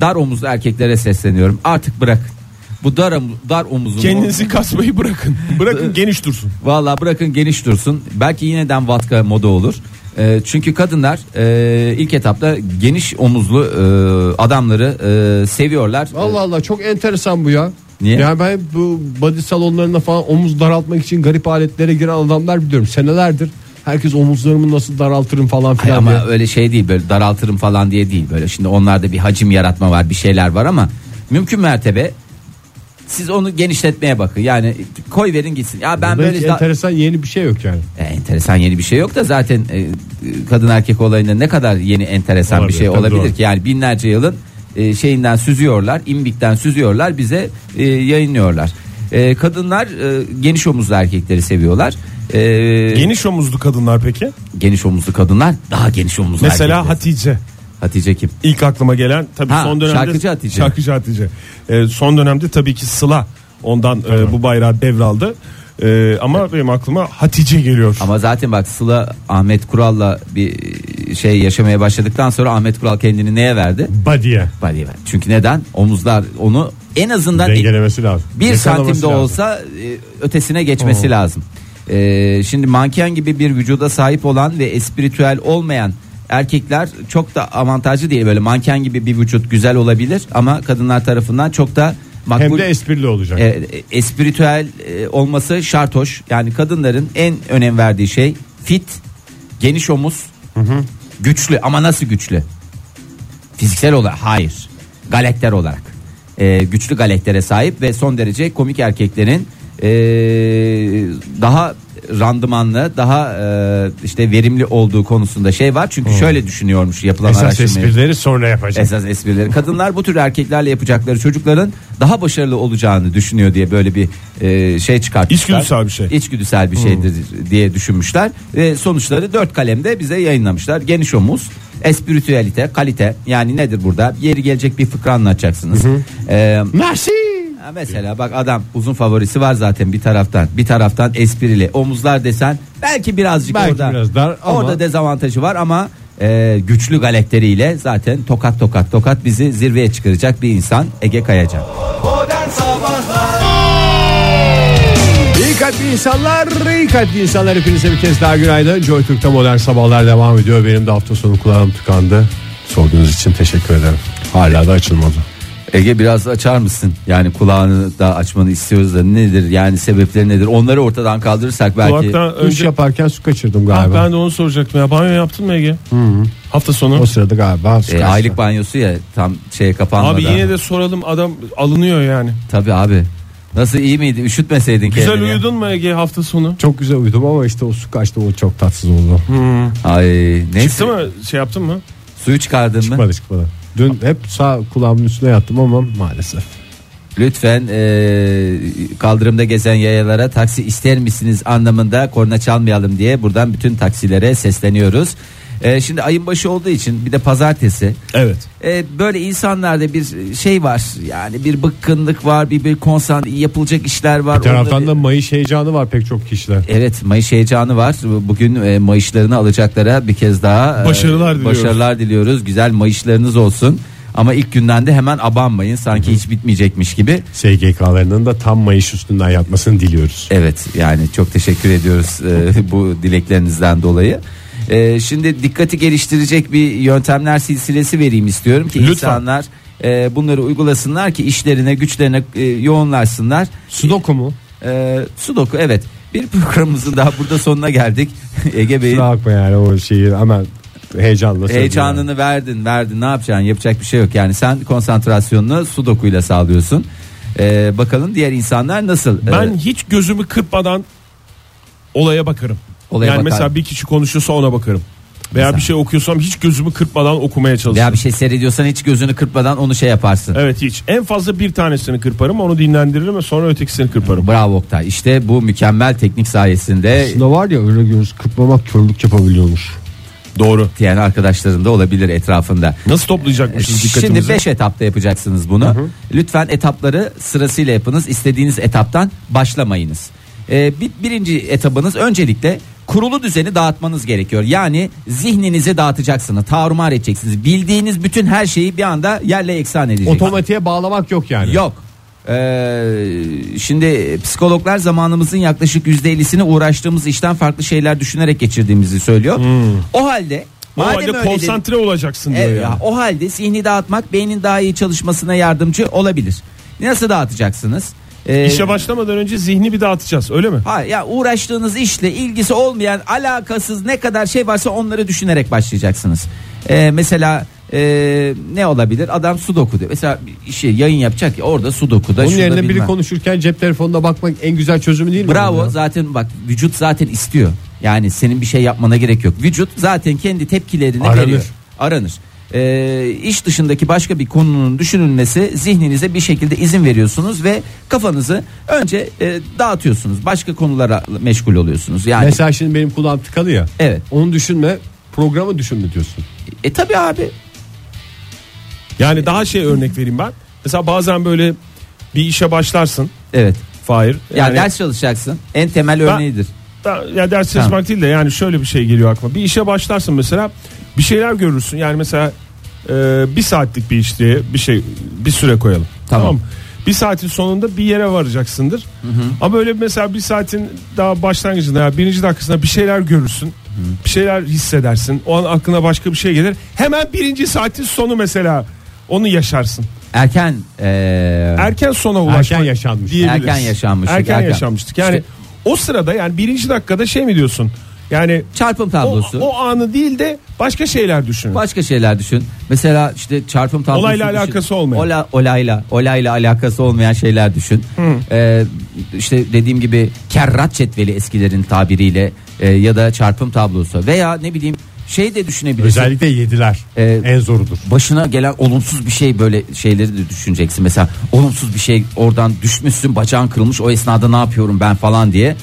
D: dar omuzlu erkeklere sesleniyorum. Artık bırak. Bu dar, om- dar omuzlu.
B: Kendinizi kasmayı bırakın. Bırakın geniş dursun.
D: Valla bırakın geniş dursun. Belki yeniden vatka moda olur. Ee, çünkü kadınlar e, ilk etapta geniş omuzlu e, adamları e, seviyorlar.
C: Allah Allah çok enteresan bu ya.
D: Niye?
C: Yani ben bu body salonlarına falan omuz daraltmak için garip aletlere giren adamlar biliyorum senelerdir. Herkes omuzlarımı nasıl daraltırım falan
D: Ay
C: filan
D: ama
C: diye.
D: öyle şey değil böyle daraltırım falan diye değil böyle. Şimdi onlarda bir hacim yaratma var, bir şeyler var ama mümkün mertebe siz onu genişletmeye bakın. Yani koy verin gitsin. Ya ben
C: Burada hiç
D: böyle da-
C: enteresan yeni bir şey yok yani.
D: E, enteresan yeni bir şey yok da zaten e, kadın erkek olayında ne kadar yeni enteresan
B: Olabilir,
D: bir şey
B: tabii
D: olabilir
B: doğru.
D: ki yani binlerce yılın e, şeyinden süzüyorlar imbikten süzüyorlar bize e, yayınlıyorlar E, kadınlar e, geniş omuzlu erkekleri seviyorlar E,
B: Geniş omuzlu kadınlar peki?
D: geniş omuzlu kadınlar daha geniş omuzlu
B: Mesela
D: erkekleri.
B: Hatice.
D: Hatice kim
B: İlk aklıma gelen tabii
D: Ha,
B: son dönemde
D: şarkıcı Hatice.
B: Şarkıcı Hatice. Ee, son dönemde tabii ki Sıla ondan e, bu bayrağı devraldı. Ee, ama benim aklıma Hatice geliyor.
D: ama zaten bak Sıla Ahmet Kural'la bir şey yaşamaya başladıktan sonra Ahmet Kural kendini neye verdi?
C: Body'ye
D: Bariye verdi. Çünkü neden? Omuzlar onu en azından
C: dengelemesi lazım.
D: bir
C: Yakalaması
D: santim de
C: lazım.
D: olsa e, ötesine geçmesi lazım. E, şimdi manken gibi bir vücuda sahip olan ve espiritüel olmayan erkekler çok da avantajlı değil. Böyle manken gibi bir vücut güzel olabilir ama kadınlar tarafından çok da
C: hem
D: makbul.
C: de esprili olacak.
D: E, e, espiritüel e, olması şart hoş. Yani kadınların en önem verdiği şey fit, geniş omuz, güçlü ama nasıl güçlü? Fiziksel olarak hayır. Galakter olarak. E, güçlü galaktere sahip ve son derece komik erkeklerin e, daha randımanlı, daha e, işte verimli olduğu konusunda şey var. Çünkü şöyle düşünüyormuş yapılan
C: Esas
D: araştırmaya.
C: esprileri sonra yapacak.
D: Esas esprileri. Kadınlar bu tür erkeklerle yapacakları çocukların daha başarılı olacağını düşünüyor diye böyle bir e, şey çıkartmışlar.
B: İçgüdüsel bir şey.
D: İçgüdüsel bir şeydir diye düşünmüşler. Ve sonuçları dört kalemde bize yayınlamışlar. Geniş omuz, espiritüelite, kalite. Yani nedir burada? Yeri gelecek bir fıkra anlatacaksınız. E,
C: Merci.
D: Ha Mesela bak adam uzun favorisi var zaten bir taraftan. Bir taraftan esprili. Omuzlar desen belki birazcık
C: Belki
D: orada.
C: biraz dar ama-
D: Orada dezavantajı var ama e, güçlü galakteriyle zaten tokat tokat tokat bizi zirveye çıkaracak bir insan Ege Kayacan.
C: İyi kalpli insanlar, iyi kalpli insanlar hepinize bir kez daha günaydın. Joy Türk'te modern sabahlar devam ediyor. Benim de hafta sonu kulağım tıkandı. Sorduğunuz için teşekkür ederim. Hala da açılmadı.
D: Ege biraz açar mısın? Yani kulağını da açmanı istiyoruz da nedir? Yani sebepleri nedir? Onları ortadan kaldırırsak belki e,
B: Kulaktan
C: Duş
B: önce
C: yaparken su kaçırdım
B: Ah,
C: galiba.
B: ben de onu soracaktım ya. Banyo yaptın mı Ege? Hafta sonu.
C: O sırada galiba su
D: e,
C: kaçtı.
D: aylık banyosu ya tam şeye kapanmadan.
B: Abi yine de soralım adam alınıyor yani.
D: Tabii abi. Nasıl iyi miydi? Üşütmeseydin
B: Güzel
D: kendini.
B: uyudun mu Ege hafta sonu?
C: Çok güzel uyudum ama işte o su kaçtı o çok tatsız oldu.
D: Ay neyse.
B: Çıktı mı şey yaptın mı?
D: Suyu çıkardın mı?
C: Çıkmadı çıkmadı. Dün hep sağ kulağımın üstüne yattım ama maalesef.
D: Lütfen e, kaldırımda gezen yayalara taksi ister misiniz anlamında korna çalmayalım diye buradan bütün taksilere sesleniyoruz. E, şimdi ayın başı olduğu için bir de pazartesi.
B: Evet.
D: E, böyle insanlarda bir şey var yani bir bıkkınlık var bir bir konsan yapılacak işler var.
C: Bir taraftan
D: Orada
C: da Mayıs heyecanı var pek çok kişiler.
D: bir- Evet Mayıs heyecanı var. Bugün e, Mayışlarını alacaklara bir kez daha e,
B: Başarılar diliyoruz.
D: başarılar diliyoruz. Güzel Mayışlarınız olsun. Ama ilk günden de hemen abanmayın. Sanki hiç bitmeyecekmiş gibi.
C: SGK'larının da tam Mayıs üstünden yatmasını diliyoruz.
D: Evet yani çok teşekkür ediyoruz e, bu dileklerinizden dolayı. E, şimdi dikkati geliştirecek bir yöntemler silsilesi vereyim istiyorum ki
B: Lütfen.
D: insanlar e, bunları uygulasınlar ki işlerine güçlerine e, yoğunlaşsınlar.
C: Sudoku mu?
D: E, sudoku evet bir programımızın daha burada sonuna geldik. Ege Bey'in
C: Kusura bakma yani o şeyi hemen heyecanla söyledim.
D: heyecanını verdin verdin ne yapacaksın yapacak bir şey yok yani sen konsantrasyonunu sudokuyla sağlıyorsun. E, bakalım diğer insanlar nasıl? E,
B: Ben hiç gözümü kırpmadan olaya bakarım.
D: Olaya
B: yani
D: bakar.
B: mesela bir kişi konuşuyorsa ona bakarım. Veya
D: Mesela.
B: bir şey okuyorsam hiç gözümü kırpmadan okumaya çalışırım.
D: Veya bir şey seyrediyorsan hiç gözünü kırpmadan onu şey yaparsın.
B: Evet hiç. En fazla bir tanesini kırparım onu dinlendiririm ve sonra ötekisini kırparım.
D: Bravo Oktay. İşte bu mükemmel teknik sayesinde
E: Aslında var ya öyle göz kırpmamak körlük yapabiliyormuş.
B: Doğru.
D: diyen arkadaşlarım da olabilir etrafında.
B: Nasıl toplayacakmışız dikkatimizi?
D: Şimdi 5 etapta yapacaksınız bunu. Lütfen etapları sırasıyla yapınız. İstediğiniz etaptan başlamayınız. Ee, bir, birinci etabınız öncelikle kurulu düzeni dağıtmanız gerekiyor. Yani zihninizi dağıtacaksınız, tarumar edeceksiniz. Bildiğiniz bütün her şeyi bir anda yerle eksan edeceksiniz.
C: Otomatiğe bağlamak yok yani.
D: Yok. Ee, şimdi psikologlar zamanımızın yaklaşık %50'sini uğraştığımız işten farklı şeyler düşünerek geçirdiğimizi söylüyor. O halde
B: Hmm. O
D: madem
B: halde
D: öyle dedik-
B: konsantre olacaksın diyor
D: Evet,
B: ya.
D: ya, o halde zihni dağıtmak beynin daha iyi çalışmasına yardımcı olabilir. Nasıl dağıtacaksınız? Ee,
B: İşe başlamadan önce zihni bir dağıtacağız öyle mi?
D: ha, ya uğraştığınız işle ilgisi olmayan alakasız ne kadar şey varsa onları düşünerek başlayacaksınız. Ee, mesela e, ne olabilir? Adam sudoku diyor. Mesela bir şey yayın yapacak ya orada sudoku'da
C: Onun
D: şurada
C: yerine biri
D: bilmem.
C: konuşurken cep telefonuna bakmak en güzel çözümü değil mi?
D: Bravo
C: Ya?
D: zaten bak vücut zaten istiyor. Yani senin bir şey yapmana gerek yok. Vücut zaten kendi tepkilerini
C: Aranır.
D: veriyor. Aranır. Ee, iş dışındaki başka bir konunun düşünülmesi zihninize bir şekilde izin veriyorsunuz ve kafanızı önce e, dağıtıyorsunuz. Başka konulara meşgul oluyorsunuz. Yani
C: Mesela şimdi benim kulağım tıkalı ya.
D: evet.
C: Onu düşünme programı düşünme diyorsun.
D: E tabi abi.
B: Yani daha şey örnek vereyim ben. Mesela bazen böyle bir işe başlarsın.
D: Evet.
B: Fahir.
D: Ya ders çalışacaksın. En temel örneğidir.
B: Da- ya ders çalışmak
D: Tamam.
B: değil de yani şöyle bir şey geliyor aklıma. Bir işe başlarsın mesela bir şeyler görürsün. Yani mesela e, bir saatlik bir iş diye bir şey bir süre koyalım.
D: Tamam.
B: mı? Bir saatin sonunda bir yere varacaksındır. Ama böyle mesela bir saatin daha başlangıcında ya birinci dakikasında bir şeyler görürsün. Bir şeyler hissedersin. O an aklına başka bir şey gelir. Hemen birinci saatin sonu mesela onu yaşarsın.
D: Erken e,
C: Er-
B: Erken sona ulaşmak.
C: Erken yaşanmış.
B: diyebiliriz.
D: Erken yaşanmıştık,
B: Erken,
D: erken.
B: yaşanmıştık. Yani
D: İşte-
B: o sırada yani birinci dakikada şey mi diyorsun? Yani
D: çarpım
B: o,
D: tablosu.
B: o anı değil de başka şeyler düşünün.
D: Başka şeyler düşün. Mesela işte çarpım tablosu
B: Olayla
D: düşün.
B: alakası olmayan.
D: Ola, olayla, olayla alakası olmayan şeyler düşün. Ee, işte dediğim gibi kerrat cetveli eskilerin tabiriyle e, ya da çarpım tablosu veya ne bileyim şey de düşünebilirsin.
C: Özellikle yediler.
D: Ee,
C: en zorudur.
D: Başına gelen olumsuz bir şey böyle şeyleri de düşüneceksin. Mesela olumsuz bir şey oradan düşmüşsün bacağın kırılmış o esnada ne yapıyorum ben falan diye.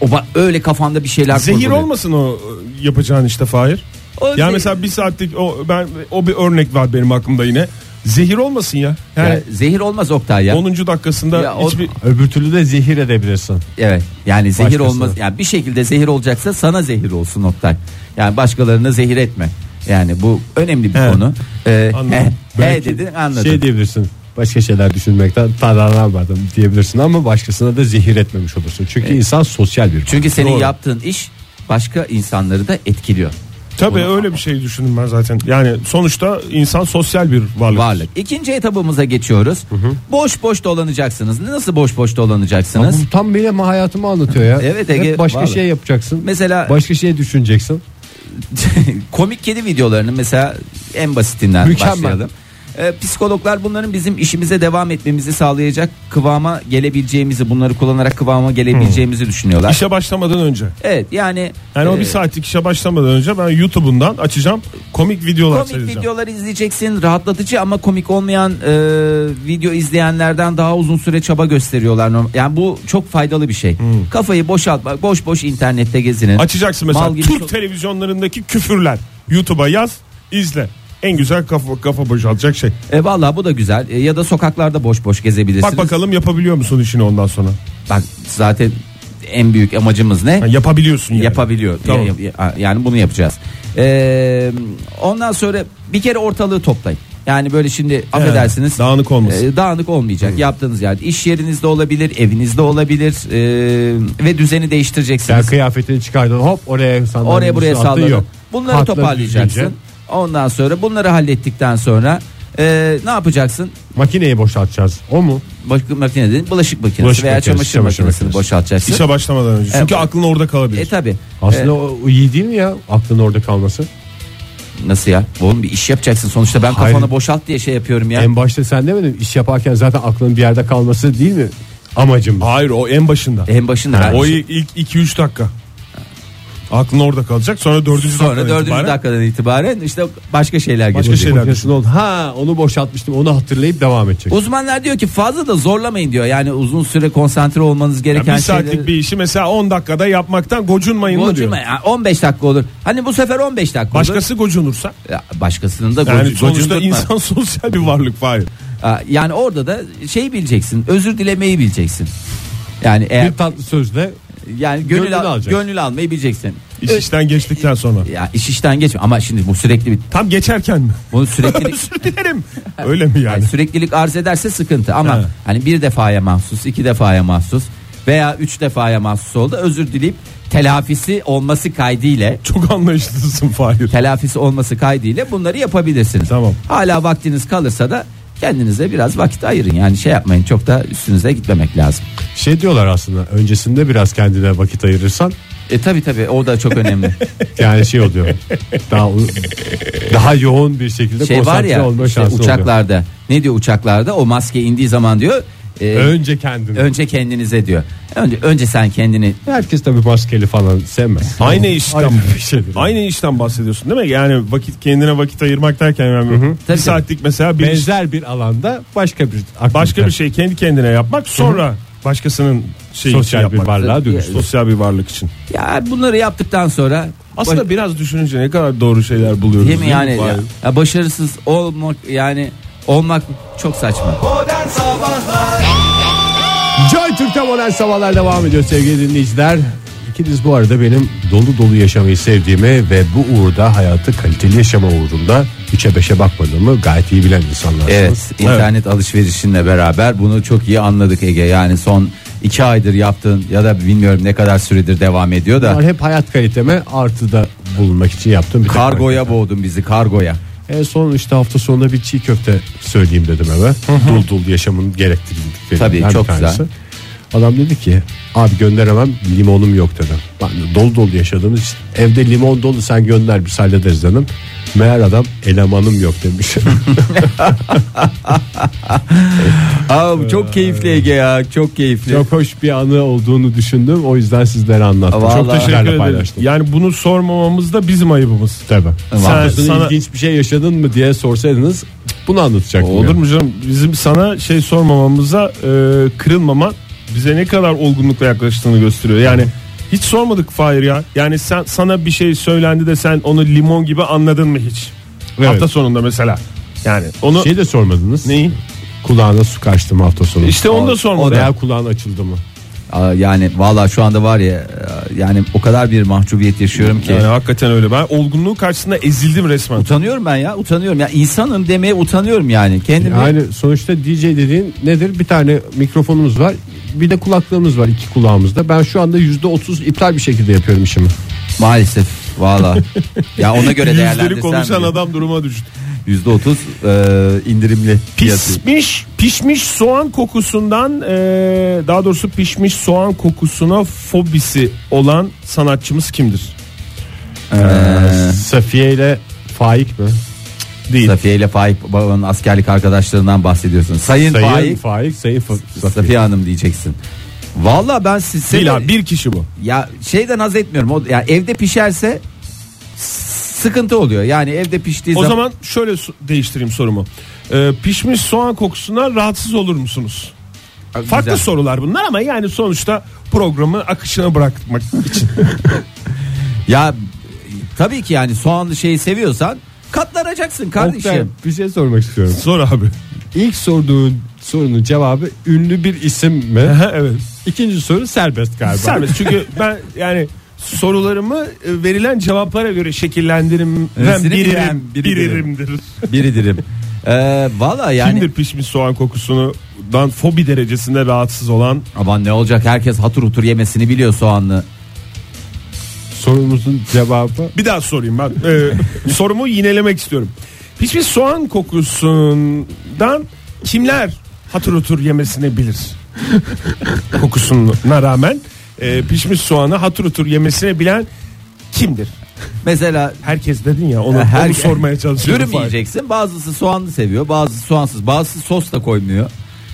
D: O ba- öyle kafanda bir şeyler
B: Zehir
D: kurguluyor.
B: olmasın o e, yapacağın işte Fahir.
D: O
B: ya
D: zehir-
B: mesela bir saatlik o ben o bir örnek var benim aklımda yine. Zehir olmasın ya. Yani
D: Ya zehir olmaz Oktay ya.
B: 10. dakikasında
D: Ya o-
B: hiçbir
C: Öbür türlü de zehir edebilirsin.
D: Evet. Yani zehir
C: Başkasına.
D: olmaz. Yani bir şekilde zehir olacaksa sana zehir olsun Oktay. Yani başkalarına zehir etme. Yani bu önemli bir
B: He.
D: konu. Ee,
B: Anladım.
D: he, he dedi anladım.
C: Şey diyebilirsin. Başka şeyler düşünmekten tadana vardım diyebilirsin ama başkasına da zehir etmemiş olursun. Çünkü insan sosyal bir.
D: Ee, Çünkü senin
B: Doğru.
D: yaptığın iş başka insanları da etkiliyor.
B: tabii öyle bir şey düşündüm ben zaten. Yani sonuçta insan sosyal bir varlık.
D: Varlık. İkinci etabımıza geçiyoruz. Boş boş dolanacaksınız. Nasıl boş boş dolanacaksınız?
C: Bu tam benim hayatıma anlatıyor ya.
D: Evet, Ege,
C: Hep başka
D: vallahi.
C: şey yapacaksın.
D: Mesela
C: başka şey düşüneceksin.
D: komik kedi videolarının mesela en basitinden
C: Mükemmel.
D: başlayalım. Ee, psikologlar bunların bizim işimize devam etmemizi sağlayacak kıvama gelebileceğimizi, bunları kullanarak kıvama gelebileceğimizi düşünüyorlar.
B: İşe başlamadan önce.
D: Evet yani
B: Hmm. Yani o
D: e,
B: bir saatlik işe başlamadan önce ben YouTube'undan açacağım komik videolar
D: komik
B: seyredeceğim.
D: videolar izleyeceksin rahatlatıcı ama komik olmayan e, video izleyenlerden daha uzun süre çaba gösteriyorlar. Norm- Yani bu çok faydalı bir şey.
B: Hmm.
D: Kafayı boşaltma boş boş internette gezinin.
B: Açacaksın mesela
D: Mal gibi
B: Türk
D: çok-
B: televizyonlarındaki küfürler. YouTube'a yaz, izle. En güzel kafa kafa boşaltacak şey.
D: E, Valla bu da güzel E, ya da sokaklarda boş boş gezebilirsiniz.
B: Bak bakalım yapabiliyor musun işini ondan sonra?
D: Bak zaten en büyük amacımız ne?
B: Ha, yapabiliyorsun yani.
D: Yapabiliyor.
B: Tamam.
D: Ya- ya- Yani bunu yapacağız. Ee, ondan sonra bir kere ortalığı toplayın. Yani böyle şimdi affedersiniz.
B: dağınık olmasın.
D: e, dağınık olmayacak. Yaptığınız yani iş yerinizde olabilir, evinizde olabilir e, ve düzeni
C: Sen
D: değiştireceksiniz.
C: kıyafetini çıkardın hop oraya sandalyenin
D: Oraya buraya
C: üstüne attın,
D: salladın.
C: yok.
D: Bunları
C: Hatları
D: toparlayacaksın.
C: düzgünce.
D: Ondan sonra bunları hallettikten sonra e, ne yapacaksın?
C: Makineyi boşaltacağız. O mu?
D: Bulaşık makinesi, değil, bulaşık makinesi
C: Bulaşık
D: veya
C: makinesi,
D: çamaşır,
C: çamaşır
D: makinesini
C: makinesi.
D: boşaltacaksın.
B: İşe başlamadan önce. Çünkü
D: Evet.
B: aklın orada kalabilir.
D: E tabi.
C: Aslında o, o iyi değil mi ya? Aklın orada kalması.
D: Nasıl ya? Oğlum bir iş yapacaksın. Sonuçta ben kafanı
C: Hayır.
D: boşalt diye şey yapıyorum ya.
C: En başta sen demedin mi? iş yaparken zaten aklın bir yerde kalması değil mi? Amacım.
B: Hayır o en başında.
D: En başında.
B: Ha,
D: ben-
B: o ilk 2-3 dakika. Aklın orada kalacak. Sonra dördüncü
D: Sonra
B: dakikadan
D: dördüncü
B: itibaren
D: dakikadan itibaren işte başka şeyler
C: Başka
D: gelecek.
C: şeyler düşünün oldu. Ha onu boşaltmıştım onu hatırlayıp devam edecek.
D: Uzmanlar diyor ki fazla da zorlamayın diyor. Yani uzun süre konsantre olmanız
B: yani
D: gereken
B: bir saatlik
D: şeyleri-
B: bir işi mesela 10 dakikada yapmaktan gocunmayın mı diyor.
D: Gocunma ya, 15 dakika olur. Hani bu sefer 15 dakika olur.
B: Başkası gocunursa
D: Ya, Başkasının da
B: yani
D: gocu-
B: sonuçta
D: gocundurtma.
B: insan sosyal bir varlık Fahir.
D: Ha, Yani orada da şey bileceksin. Özür dilemeyi bileceksin. Yani eğer
C: Bir tatlı sözle
D: yani gönül,
C: gönlünü
D: al-
C: alacaksın.
D: gönül almayı bileceksin.
B: İş işten geçtikten sonra.
D: Ya iş işten geçme ama şimdi bu sürekli bir
B: Tam geçerken mi?
D: bunu sürekli
B: Özür dilerim. Öyle mi yani?
D: Yani süreklilik arz ederse sıkıntı ama
B: He.
D: hani bir defaya mahsus, iki defaya mahsus veya üç defaya mahsus oldu özür dileyip telafisi olması kaydıyla
B: Çok anlayışlısın Fahir.
D: telafisi olması kaydıyla bunları yapabilirsiniz.
B: Tamam.
D: Hala vaktiniz kalırsa da kendinize biraz vakit ayırın. Yani şey yapmayın çok da üstünüze gitmemek lazım.
C: şey diyorlar aslında öncesinde biraz kendine vakit ayırırsan
D: E tabi tabi o da çok önemli.
C: yani şey oluyor. daha daha yoğun bir şekilde
D: şey var
C: konsantre
D: ya
C: olma
D: işte
C: şansı oluyor.
D: uçaklarda ne diyor uçaklarda o maske indiği zaman diyor e,
C: Önce kendini.
D: önce kendinize diyor. Önce, önce sen kendini
C: Herkes tabii maskeli falan sevmez.
B: Aynı işten
C: Aynı bir şeydir.
B: Aynı işten bahsediyorsun değil mi? Yani vakit kendine vakit ayırmak derken yani bir
D: Tabii.
B: saatlik mesela bir iş-
C: benzer bir alanda başka bir
B: başka bir şey kendi kendine yapmak sonra başkasının şeyi için
C: sosyal bir
B: yapmak.
C: varlığa dönüştü.
B: Sosyal bir varlık için.
D: ya bunları yaptıktan sonra
B: Aslında biraz düşününce ne kadar doğru şeyler buluyoruz.
D: Değil mi yani?
B: Fahir?
D: Ya, ya başarısız olmak yani olmak çok saçma.
B: şey.
C: Joy Türk'te modern sabahlar devam ediyor sevgili dinleyiciler. İkiniz bu arada benim dolu dolu yaşamayı sevdiğimi ve bu uğurda hayatı kaliteli yaşama uğrunda üçe beşe bakmadığımı gayet iyi bilen insanlarsınız.
D: Evet internet alışverişinle beraber bunu çok iyi anladık Ege. Yani son iki aydır yaptığın ya da bilmiyorum ne kadar süredir devam ediyor da
C: Bunlar hep hayat kaliteme artıda bulunmak için yaptığım bir
D: kargoya boğdun bizi kargoya.
C: En son işte hafta sonunda bir çiğ köfte söyleyeyim dedim eve. dul dul yaşamın gerektirdiklerinden
D: Tabii,
C: bir
D: çok
C: tanesi.
D: güzel.
C: Adam dedi ki abi gönderemem limonum yok dedim. Ben de dolu dolu yaşadığımız için, evde limon dolu sen gönder biz hallederiz dedim. Meğer adam elemanım yok demiş.
D: Aa, bu çok keyifli Ege ya çok keyifli.
C: çok hoş bir anı olduğunu düşündüm o yüzden sizlere anlattım.
D: Vallahi.
C: Çok teşekkür
B: Teşekkür
C: ederim.
B: ederim.
C: Paylaştım.
B: Yani bunu sormamamız da bizim ayıbımız.
C: Tabii.
B: Sen,
C: Haftasında
B: sana,
C: ilginç bir şey yaşadın mı diye sorsaydınız bunu anlatacaktım.
B: olur
C: ya.
B: mu canım? Bizim sana şey sormamamıza e, kırılmaman bize ne kadar olgunlukla yaklaştığını gösteriyor. Yani hiç sormadık Fahir ya. Yani sen sana bir şey söylendi de sen onu limon gibi anladın mı hiç?
C: Evet.
B: Hafta sonunda mesela. Yani onu
C: Şey de sormadınız.
B: neyi?
C: Kulağına su kaçtı mı hafta sonu?
B: İşte onu da
C: O
B: sormadı.
C: veya kulağın açıldı mı?
D: Aa, yani valla şu anda var ya e, yani o kadar bir mahcubiyet yaşıyorum ki.
B: Yani hakikaten öyle. Ben olgunluğun karşısında ezildim resmen.
D: Utanıyorum ben ya utanıyorum ya insanım demeye utanıyorum yani kendimi.
C: Yani sonuçta DJ dediğin nedir? Bir tane mikrofonumuz var. Bir de kulaklığımız var iki kulağımızda. Ben şu anda yüzde otuz iptal bir şekilde yapıyorum işimi.
D: Maalesef valla. ya ona göre
B: Yüzleri konuşan
D: değerlendirsen
B: adam duruma düştü.
D: yüzde otuz e, indirimli fiyatı.
B: Pişmiş, pişmiş soğan kokusundan e, daha doğrusu pişmiş soğan kokusuna fobisi olan sanatçımız kimdir? Ee,
C: Safiye ile Faik mi?
B: Değil.
D: Safiye ile Faik babanın askerlik arkadaşlarından bahsediyorsun. Sayın,
C: Sayın Faik,
D: Faik,
C: Sayın Fa- Safiye.
D: Safiye Hanım diyeceksin. Valla ben siz
B: Değil abi, bir kişi bu.
D: ya şeyden haz etmiyorum. O, ya evde pişerse s- sıkıntı oluyor. Yani evde piştiği
B: O
D: zaman,
B: zaman şöyle su- değiştireyim sorumu. E, pişmiş soğan kokusundan rahatsız olur musunuz?
D: Güzel.
B: Farklı sorular bunlar ama yani sonuçta programı akışına bırakmak için.
D: Ya tabii ki yani soğanlı şeyi seviyorsan
B: Oh
D: katlanacaksın kardeşim.
C: Oktay, bir şey sormak istiyorum.
B: Sor abi.
C: İlk sorduğun sorunun cevabı ünlü bir isim mi?
B: evet.
C: İkinci soru serbest galiba.
B: Serbest çünkü ben yani sorularımı e, verilen cevaplara göre şekillendiririm. Ben
D: Hepsini
B: biririm,
D: bilen biri
B: biririmdir.
D: Biridirim. Ee, Valla yani
B: Kimdir pişmiş soğan kokusundan fobi derecesinde rahatsız olan?
D: aman ne olacak herkes hatır hutur yemesini biliyor soğanlı.
C: Sorumuzun cevabı
B: Bir daha sorayım ben. Ee, sorumu yinelemek istiyorum. Pişmiş soğan kokusundan kimler hatır otur yemesini bilir? Kokusuna rağmen e, pişmiş soğanı hatır otur yemesini bilen kimdir?
D: Mesela
B: Herkes dedin ya onu,
D: her-
B: onu sormaya çalışıyorum.
D: Dürüm yiyeceksin. Bazısı soğanlı seviyor, bazısı soğansız, bazısı sos da koymuyor.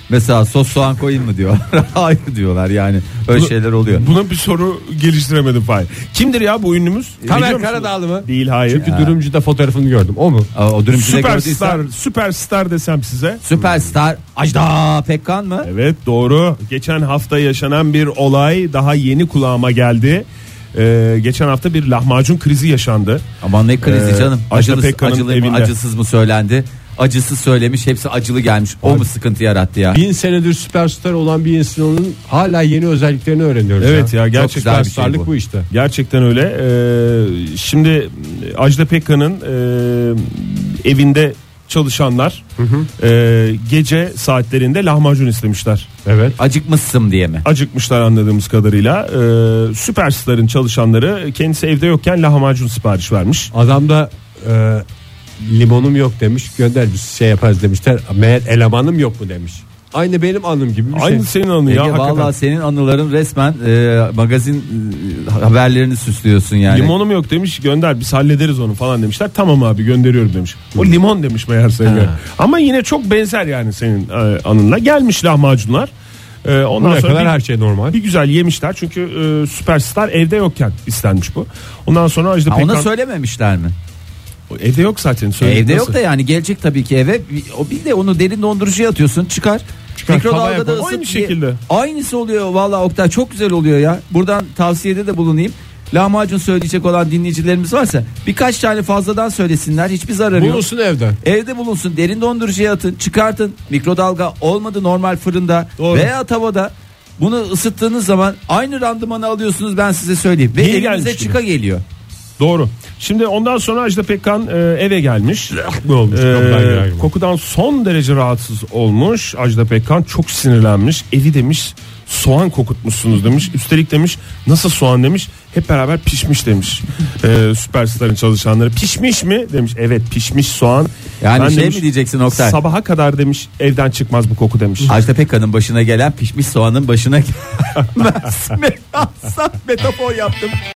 D: Mesela sos soğan koyayım mı diyor. Hayır diyorlar yani. Öyle
B: Bunu-
D: şeyler oluyor.
B: Buna bir soru geliştiremedim Fahir. Kimdir ya bu ünlümüz? Biliyor
C: Tamer
B: musunuz?
C: Karadağlı mı?
B: Değil hayır.
C: Çünkü dürümcüde fotoğrafını gördüm. O mu?
D: Aa, O dürümcüde
B: Süperstar,
D: gördüysen.
B: süperstar desem size.
D: Süperstar Ajda Pekkan mı?
B: Evet doğru. Geçen hafta yaşanan bir olay daha yeni kulağıma geldi. Ee, geçen hafta bir lahmacun krizi yaşandı.
D: Aman ne krizi
B: Ee,
D: canım.
B: Ajda
D: Acılı,
B: Pekkan'ın
D: acılı mı,
B: evinde.
D: acısız mı söylendi? Acısız söylemiş hepsi acılı gelmiş. O mu sıkıntı yarattı ya?
C: Bin senedir süperstar olan bir insanın hala yeni özelliklerini öğreniyoruz.
B: Evet ya
D: güzel
B: gerçekten
D: bir şey
C: Süperstarlık
D: bu.
C: bu. işte.
B: Gerçekten öyle. Ee, şimdi Ajda Pekkan'ın e, evinde çalışanlar e, gece saatlerinde lahmacun istemişler.
C: Evet.
D: Acıkmışsın diye mi?
B: Acıkmışlar anladığımız kadarıyla. Ee, süperstar'ın çalışanları kendisi evde yokken lahmacun sipariş vermiş.
C: Adam da e, limonum yok demiş. Gönder bir şey yaparız demişler. Meğer elemanım yok mu demiş. Aynı benim anım gibi bir
B: Aynı
C: şey.
B: senin anı
D: Ege,
B: ya hakikaten.
D: vallahi senin anıların resmen e, magazin e, haberlerini süslüyorsun yani.
B: Limonum yok demiş gönder biz hallederiz onu falan demişler. Tamam abi gönderiyorum demiş. O limon demiş meğer senin. Ama yine çok benzer yani senin e, anınla. Gelmiş lahmacunlar. E, ondan
C: Buraya
B: sonra
C: kadar
B: bir-
C: her şey normal.
B: Bir güzel yemişler çünkü e, süperstar evde yokken istenmiş bu. Ondan sonra Ajda
D: Ha, ona
B: Pekkan
D: söylememişler mi?
B: evde yok zaten. Söyle,
D: Evde
B: Ee, nasıl?
D: yok da yani gelecek tabii ki eve. Bir- O bir de onu derin dondurucuya atıyorsun çıkar.
C: Çıkar, tava
D: Mikrodalgada
C: yapar.
D: ısıt
B: Aynı
D: diye-
B: şekilde.
D: Aynısı oluyor valla Oktay çok güzel oluyor ya. Buradan tavsiyede de bulunayım. Lahmacun söyleyecek olan dinleyicilerimiz varsa birkaç tane fazladan söylesinler. Hiçbir zararı yok.
C: Bulunsun evde.
D: Evde bulunsun derin dondurucuya atın çıkartın mikrodalga olmadı normal fırında
B: Doğru.
D: veya tavada bunu ısıttığınız zaman aynı randımanı alıyorsunuz ben size söyleyeyim ve
B: Niye gelmiş
D: elinize
B: gibi?
D: çıka geliyor.
B: Doğru. Şimdi ondan sonra Ajda Pekkan e, eve gelmiş.
C: Ne olmuş?
B: Ee,
C: Kapıdan girer gibi.
B: kokudan son derece rahatsız olmuş Ajda Pekkan çok sinirlenmiş evi demiş soğan kokutmuşsunuz demiş üstelik demiş nasıl soğan demiş hep beraber pişmiş demiş ee, süperstarın çalışanları pişmiş mi demiş evet pişmiş soğan
D: Yani şey mi diyeceksin Oktay?
B: sabaha kadar demiş evden çıkmaz bu koku demiş
D: Ajda Pekkan'ın başına gelen pişmiş soğanın başına gelmez mi? Metafor yaptım.